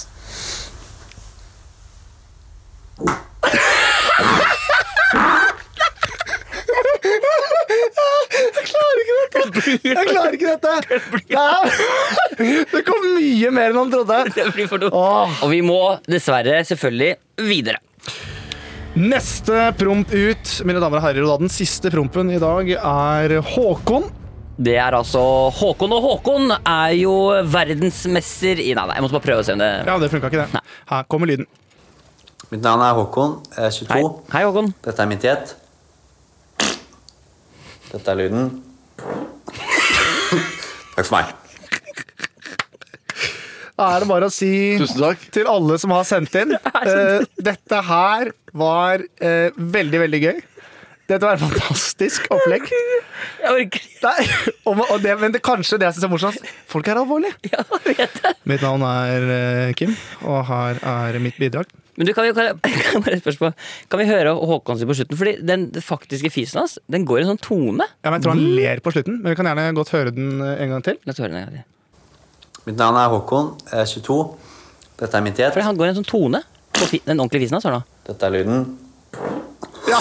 B: Jeg klarer ikke
C: (laughs)
B: dette! Det, er, (laughs) det kom mye mer enn han trodde.
C: Det blir for dumt.
B: Åh.
C: Og vi må dessverre selvfølgelig videre.
B: Neste promp ut, mine damer og herrer, og da den siste prompen i dag er Håkon.
C: Det er altså Håkon, og Håkon er jo verdensmester i Nei, nei, jeg måtte bare prøve å se om det
B: Ja, det funka ikke, det. Her kommer lyden.
G: Mitt navn er Håkon, jeg er 22.
C: Hei, Hei Håkon.
G: Dette er mitt gjett. Dette er lyden.
C: (laughs)
G: Takk for meg.
B: Da er det bare å si
H: Tusen takk.
B: til alle som har sendt
C: (laughs)
B: inn. Eh, dette her var eh, veldig, veldig gøy. Dette var et fantastisk opplegg.
C: Jeg orker ikke.
B: Nei, og, og det, men det kanskje det jeg syns er morsomst. Folk er alvorlige.
C: Ja, jeg vet det.
B: Mitt navn er eh, Kim, og her er mitt bidrag.
C: Men du, kan vi, kan, kan, jeg (laughs) bare spørre på, kan vi høre Håkon sin på slutten? Fordi den faktiske fisen hans den går i en sånn tone.
B: Ja, men jeg tror han
C: Mm.
B: ler på slutten, men vi kan gjerne godt høre den eh, en gang til.
C: La oss høre den en gang til.
G: Mitt navn er Håkon, jeg er 22. Dette er mitt gjett.
C: Fordi han går i en sånn tone på fi, den ordentlige fisen hans. Her nå.
G: Dette er lyden.
B: Ja,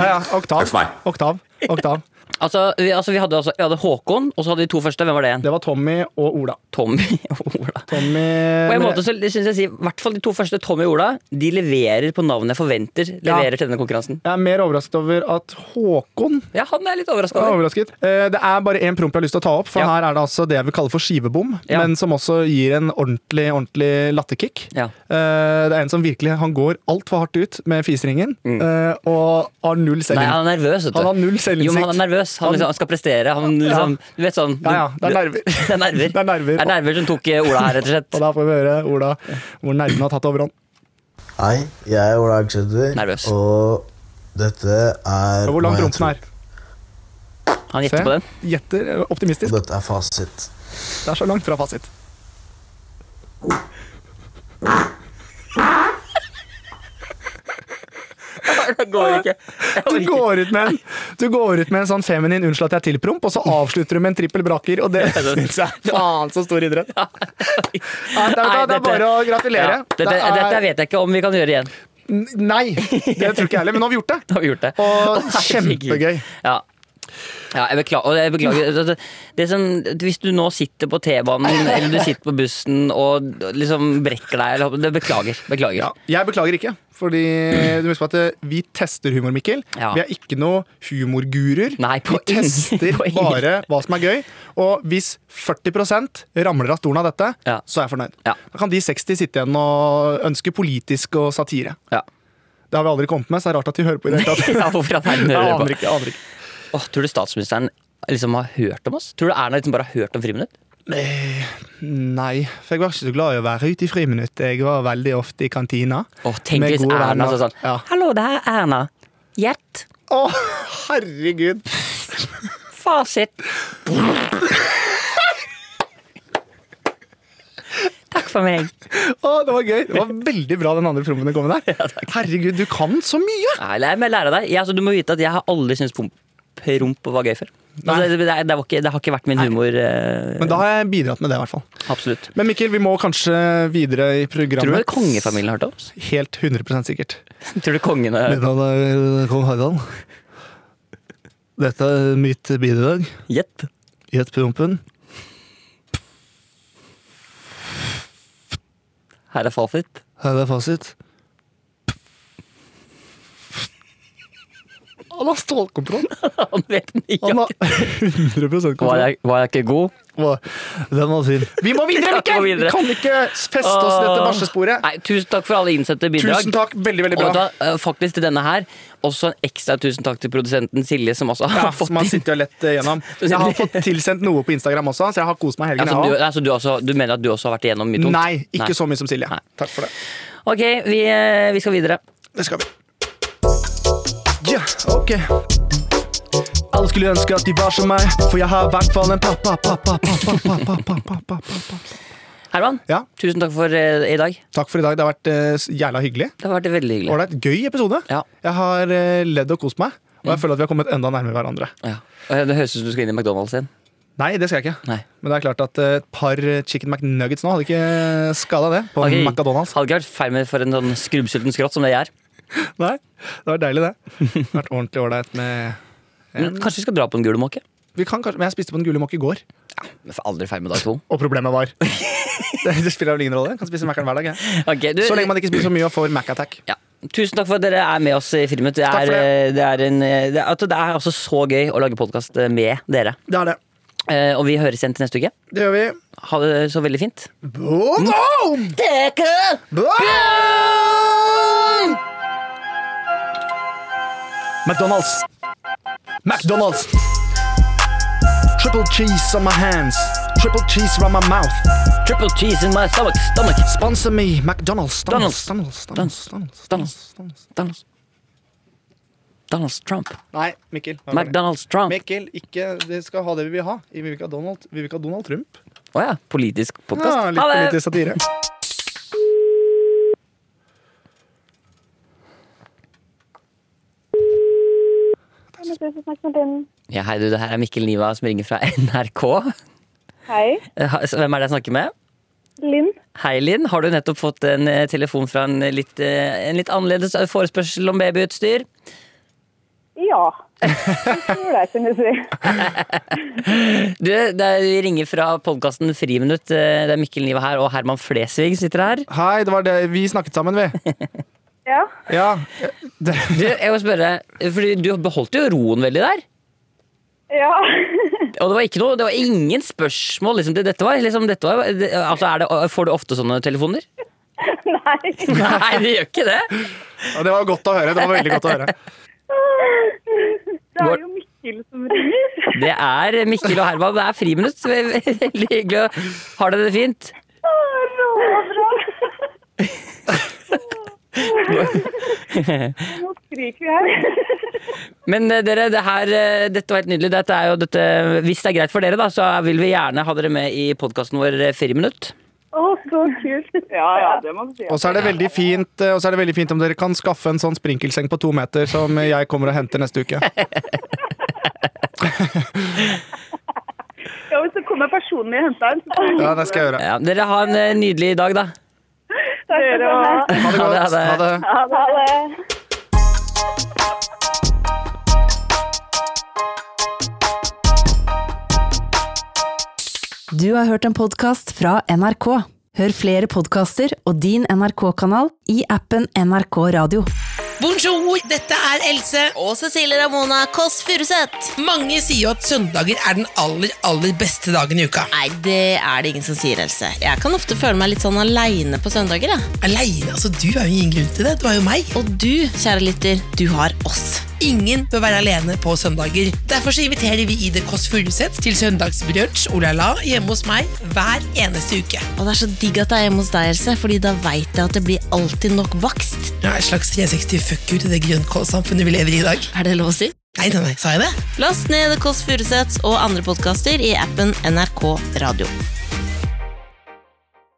B: ja, (laughs) oktav.
G: Takk for meg.
B: Oktav. oktav.
C: Altså, vi, altså, vi, hadde, altså, vi hadde Håkon, og så hadde de to første. Hvem var det igjen?
B: Det var Tommy og Ola.
C: Tommy og Ola.
B: Tommy
C: På en
B: men-
C: måte så synes jeg si, i hvert fall De to første, Tommy og Ola, de leverer på navnet jeg forventer. Leverer til denne konkurransen.
B: Jeg er mer overrasket over at Håkon
C: Ja, han er jeg litt
B: Jeg
C: overraska
B: er
C: over.
B: overrasket. Eh, Det er bare én promp jeg har lyst til å ta opp, for
C: Ja.
B: her er det altså det jeg vil kalle for skivebom,
C: Ja.
B: men som også gir en ordentlig ordentlig latterkick.
C: Ja.
B: Eh, Det er en som virkelig Han går altfor hardt ut med fiseringen
G: Mm.
B: eh, og har null
C: Nei, han
B: selvinnsikt.
C: er nervøs, vet du.
B: Han har null
C: jo, men han er
B: selvinnsikt.
C: nervøs. Han, liksom, han skal prestere. Han liksom, Du vet sånn
B: Ja, ja, det er nerver.
C: (laughs) Det er nerver.
B: Det er nerver.
C: Det er nerver som tok eh, Ola her, rett og
B: Og
C: slett.
B: da får vi høre Ola hvor nervene har tatt overhånd.
F: Hei, jeg er Ola Aksæter.
C: Nervøs.
F: Og dette er
B: Og hvor lang
F: hva jeg
B: prompen er.
F: tror.
C: Han gjetter
B: (laughs)
C: på den. (laughs)
B: Gjetter eh,
F: Og
B: optimistisk.
F: dette er fasit.
B: Det er så langt fra fasit.
C: Det går ikke.
B: Du går ut med en, du går ut med en sånn feminin 'unnskyld at jeg tilpromp', og så avslutter du med en trippel braker, og
C: (laughs)
B: det syns jeg (laughs) Faen, så stor idrett. (laughs) Ja, det, er, det er bare å gratulere.
C: Ja, dette,
B: Det er-
C: dette vet jeg ikke om vi kan gjøre igjen. (laughs)
B: N- Nei, det tror ikke jeg heller, men nå har vi gjort det.
C: Da har vi gjort det. (laughs)
B: Og
C: Å, herregud.
B: kjempegøy.
C: Ja. Ja, jeg beklager. Og jeg
B: (laughs)
C: beklager. Det, det, det som, hvis du nå sitter på T-banen eller du sitter på bussen og liksom brekker deg eller, det, Beklager. beklager.
B: Ja, jeg beklager ikke, fordi du må huske på at eh, vi tester humor, Mikkel.
C: Ja.
B: Vi er ikke noe humorguruer.
C: Nei,
B: Vi
C: på ingen-
B: tester
C: på ingen-
B: bare hva som er gøy. Og hvis 40 ramler av stolen av dette,
C: Ja.
B: så er jeg fornøyd.
C: Ja.
B: Da kan de 60 sitte igjen og ønske politisk og satire.
C: Ja. (laughs)
B: Det har vi aldri kommet med, så det er rart at de hører på i det hele tatt.
C: Ja, hvorfor i all verden
B: Jeg
C: hører
B: aner
C: dere på?
B: ikke, aner ikke.
C: Åh, tror du statsministeren liksom har hørt om oss? Tror du Erna liksom bare har hørt om Friminutt?
B: (laughs) Nei, for jeg var ikke så glad i å være ute i friminutt. Jeg var veldig ofte i kantina.
C: Åh, tenk
B: Med
C: hvis
B: gode venner.
C: Erna sa sånn
B: Ja.
C: Hallo, det her er Erna. Gjett.
B: Å, herregud!
C: Fasit. Takk for meg.
B: Å, det var gøy. Det var veldig bra den andre prompen du kom (laughs) med der. Herregud, du kan så mye!
C: Nei, jeg må lære deg. Jeg, altså, du må vite at jeg har aldri syntes pom- promp var gøy før. Altså,
B: Nei.
C: det, det, det, var ikke, det har ikke vært min humor. eh,
B: Men da har jeg bidratt med det, i hvert fall.
C: absolutt.
B: Men Mikkel, vi må kanskje videre i
C: Tror du
B: programmet.
C: kongefamilien har hørt om oss? (laughs)
B: Helt 100 sikkert.
C: Tror du kongen har
B: navn er kong Harald. Dette er mitt bidrag.
C: Gjett.
B: Gjett prompen.
C: Her er fasit.
B: Her er fasit. Han har stålkontroll!
C: (laughs) Han vet den
B: (laughs)
C: ikke.
B: Han har 100
C: Var
B: kontroll.
C: jeg, var jeg ikke god?
B: Den var fin. Vi må videre,
C: Ja, vi må
B: Mikkel!
C: videre.
B: Vi kan ikke feste oss i dette
C: Åh.
B: barsesporet.
C: Nei, tusen takk for alle innsendte bidrag.
B: Tusen takk. Veldig, veldig
C: Og
B: bra.
C: da, eh, faktisk til denne her, også en ekstra tusen takk til produsenten Silje, som også har
B: Ja,
C: fått
B: som har
C: inn.
B: sittet og lett eh,
C: (laughs)
B: gjennom. Jeg har fått tilsendt noe på Instagram også, så jeg har kost meg i
C: Ja,
B: helgen.
C: som du,
B: jeg også.
C: altså, du, også, du mener at du også har vært igjennom mye tungt?
B: Nei, ikke så mye som Silje. Takk for det.
C: Ok, vi, eh, vi skal videre.
B: Det skal vi. Ja, ok. Alle skulle ønske at de var som meg, for jeg har i hvert fall en pappa, pappa, pappa, pappa, pappa, pappa, pappa.
C: Herman,
B: Ja,
C: tusen takk for eh, i dag.
B: takk for i dag. Det har vært eh, s- jævla hyggelig.
C: Det har vært veldig hyggelig.
B: Ålreit, gøy episode.
C: Ja.
B: Jeg har eh, ledd og kost meg, og jeg føler at vi har kommet enda nærmere hverandre.
C: Ja. Eh, Det høres ut som du skal inn i McDonald's igjen.
B: Nei, det skal jeg ikke.
C: Nei.
B: Men det er klart at eh, et par eh, chicken McNuggets nå hadde ikke skada det på
C: Ok.
B: (laughs) McDonald's.
C: Hadde ikke vært feil med for en sånn skrubbsulten skrått som det jeg er.
B: Nei, det var deilig, det. det har vært ordentlig ålreit med
C: Men kanskje vi skal dra på en gul måke?
B: Vi kan kanskje, Men jeg spiste på den gule mokk i går,
C: Vi får Aldri feil med dag to.
B: og problemet var (laughs) Det, det spiller vel ingen rolle. Jeg kan spise Mac-en hver dag. Jeg.
C: Ok, du,
B: Så lenge man ikke spiser så mye og får Mac-attack.
C: ja. Tusen takk for at dere er med oss i Friminutt. Det
B: Takk
C: er,
B: for
C: eh, det er, en, eh, det er, at det er altså så gøy å lage podkast med dere.
B: Det er det.
C: Eh, Og vi høres igjen til neste uke.
B: Det gjør vi. Mm.
C: Ha det så veldig fint.
B: Boom, boom! Boom! McDonald's. McDonald's. Triple cheese on my hands. Triple cheese around my mouth.
C: Triple cheese in my stomach, stomach,
B: Sponsor me, McDonald's.
C: Donald's.
B: Donald's.
C: Donald's. Donald's. Donald. Donald Trump.
B: Nei, Mikkel. nå er det.
C: McDonald's Trump.
B: Mikkel, ikke, vi skal ha det vi vil ha. Vi vil ikke ha Donald, vi vil ikke ha Donald Trump.
C: Å ja. Politisk podkast.
B: Ja, Ah, litt politisk satire.
C: Ja, hei du, det her er Mikkel Niva som ringer fra (laughs) NRK.
D: Hei,
C: Eh, ha- så Hvem er det jeg snakker med?
D: Linn.
C: Hei, Linn. Har du nettopp fått en eh, telefon fra en litt, eh, en litt annerledes forespørsel om babyutstyr?
D: Ja, ja. Det tror jeg kunne si.
C: Du, det er, vi ringer fra podkasten Friminutt. Eh, Det er Mikkel Niva her og Herman Flesvig sitter her.
B: Hei, det var det. Vi snakket sammen, vi.
D: Ja.
B: Ja. Det,
C: Du, jeg må spørre, fordi du beholdt jo roen veldig der.
D: ja.
C: Og det var, ikke noe, det var ingen spørsmål. Liksom. Det- Dette var, liksom, dette var, det, altså, er det, får du ofte sånne telefoner? (laughs)
D: Nei.
C: Nei, det gjør ikke det.
B: ja, det var godt å høre. Det var veldig godt å høre.
D: Det er jo Mikkel som ringer.
C: Det er Mikkel og Herman. Det er friminutt. Ve- ve- Veldig hyggelig. å- Har dere det fint?
D: Å, råbra. Nå skriker vi her.
C: Men eh, dere, det her, eh, dette var helt nydelig. Dette er jo dette, hvis det er greit for dere, da, så vil vi gjerne ha dere med i podkasten vår eh, Friminutt.
D: Å, så kult. Ja, ja, det må du si.
B: Og så er det veldig fint eh, Og så er det veldig fint om dere kan skaffe en sånn sprinkelseng på to meter som jeg kommer og henter neste uke.
D: Ja, hvis det kommer personen min og henter den, så kan vi
B: Ja, det skal jeg gjøre.
C: Ja, dere har en eh, nydelig dag, da.
D: snakke sammen.
B: Ha det
C: Ha
B: godt.
C: det, ha
B: Ha
C: det.
B: det.
D: Ha det.
A: Du har hørt en podkast fra NRK. Hør flere podkaster og din NRK-kanal i appen NRK Radio.
H: Bonjour, dette er Else
I: og Cecilie Ramona Kåss Furuseth.
H: Mange sier jo at søndager er den aller, aller beste dagen i uka
I: Nei, det er det ingen som sier, Else. Jeg kan ofte føle meg litt sånn aleine på søndager. Jeg.
H: Alene, altså du er jo ingen grunn til det, du er jo meg
I: Og du, kjære lytter, du har oss.
H: Ingen bør være alene på søndager Derfor så inviterer vi Ide Kåss Furuseth til søndagsbrunch oh la la, hjemme hos meg hver eneste uke
I: Og det er så digg at det er hjemme hos deg, Else, Fordi da veit jeg at det blir alltid nok bakst.
H: Det er et slags 360 fuck you til det grønnkålsamfunnet vi lever i i dag
I: Er det lov å si?
H: Nei, nei, nei, sa jeg det?
I: Last ned Kåss Furuseth og andre podkaster i appen NRK Radio.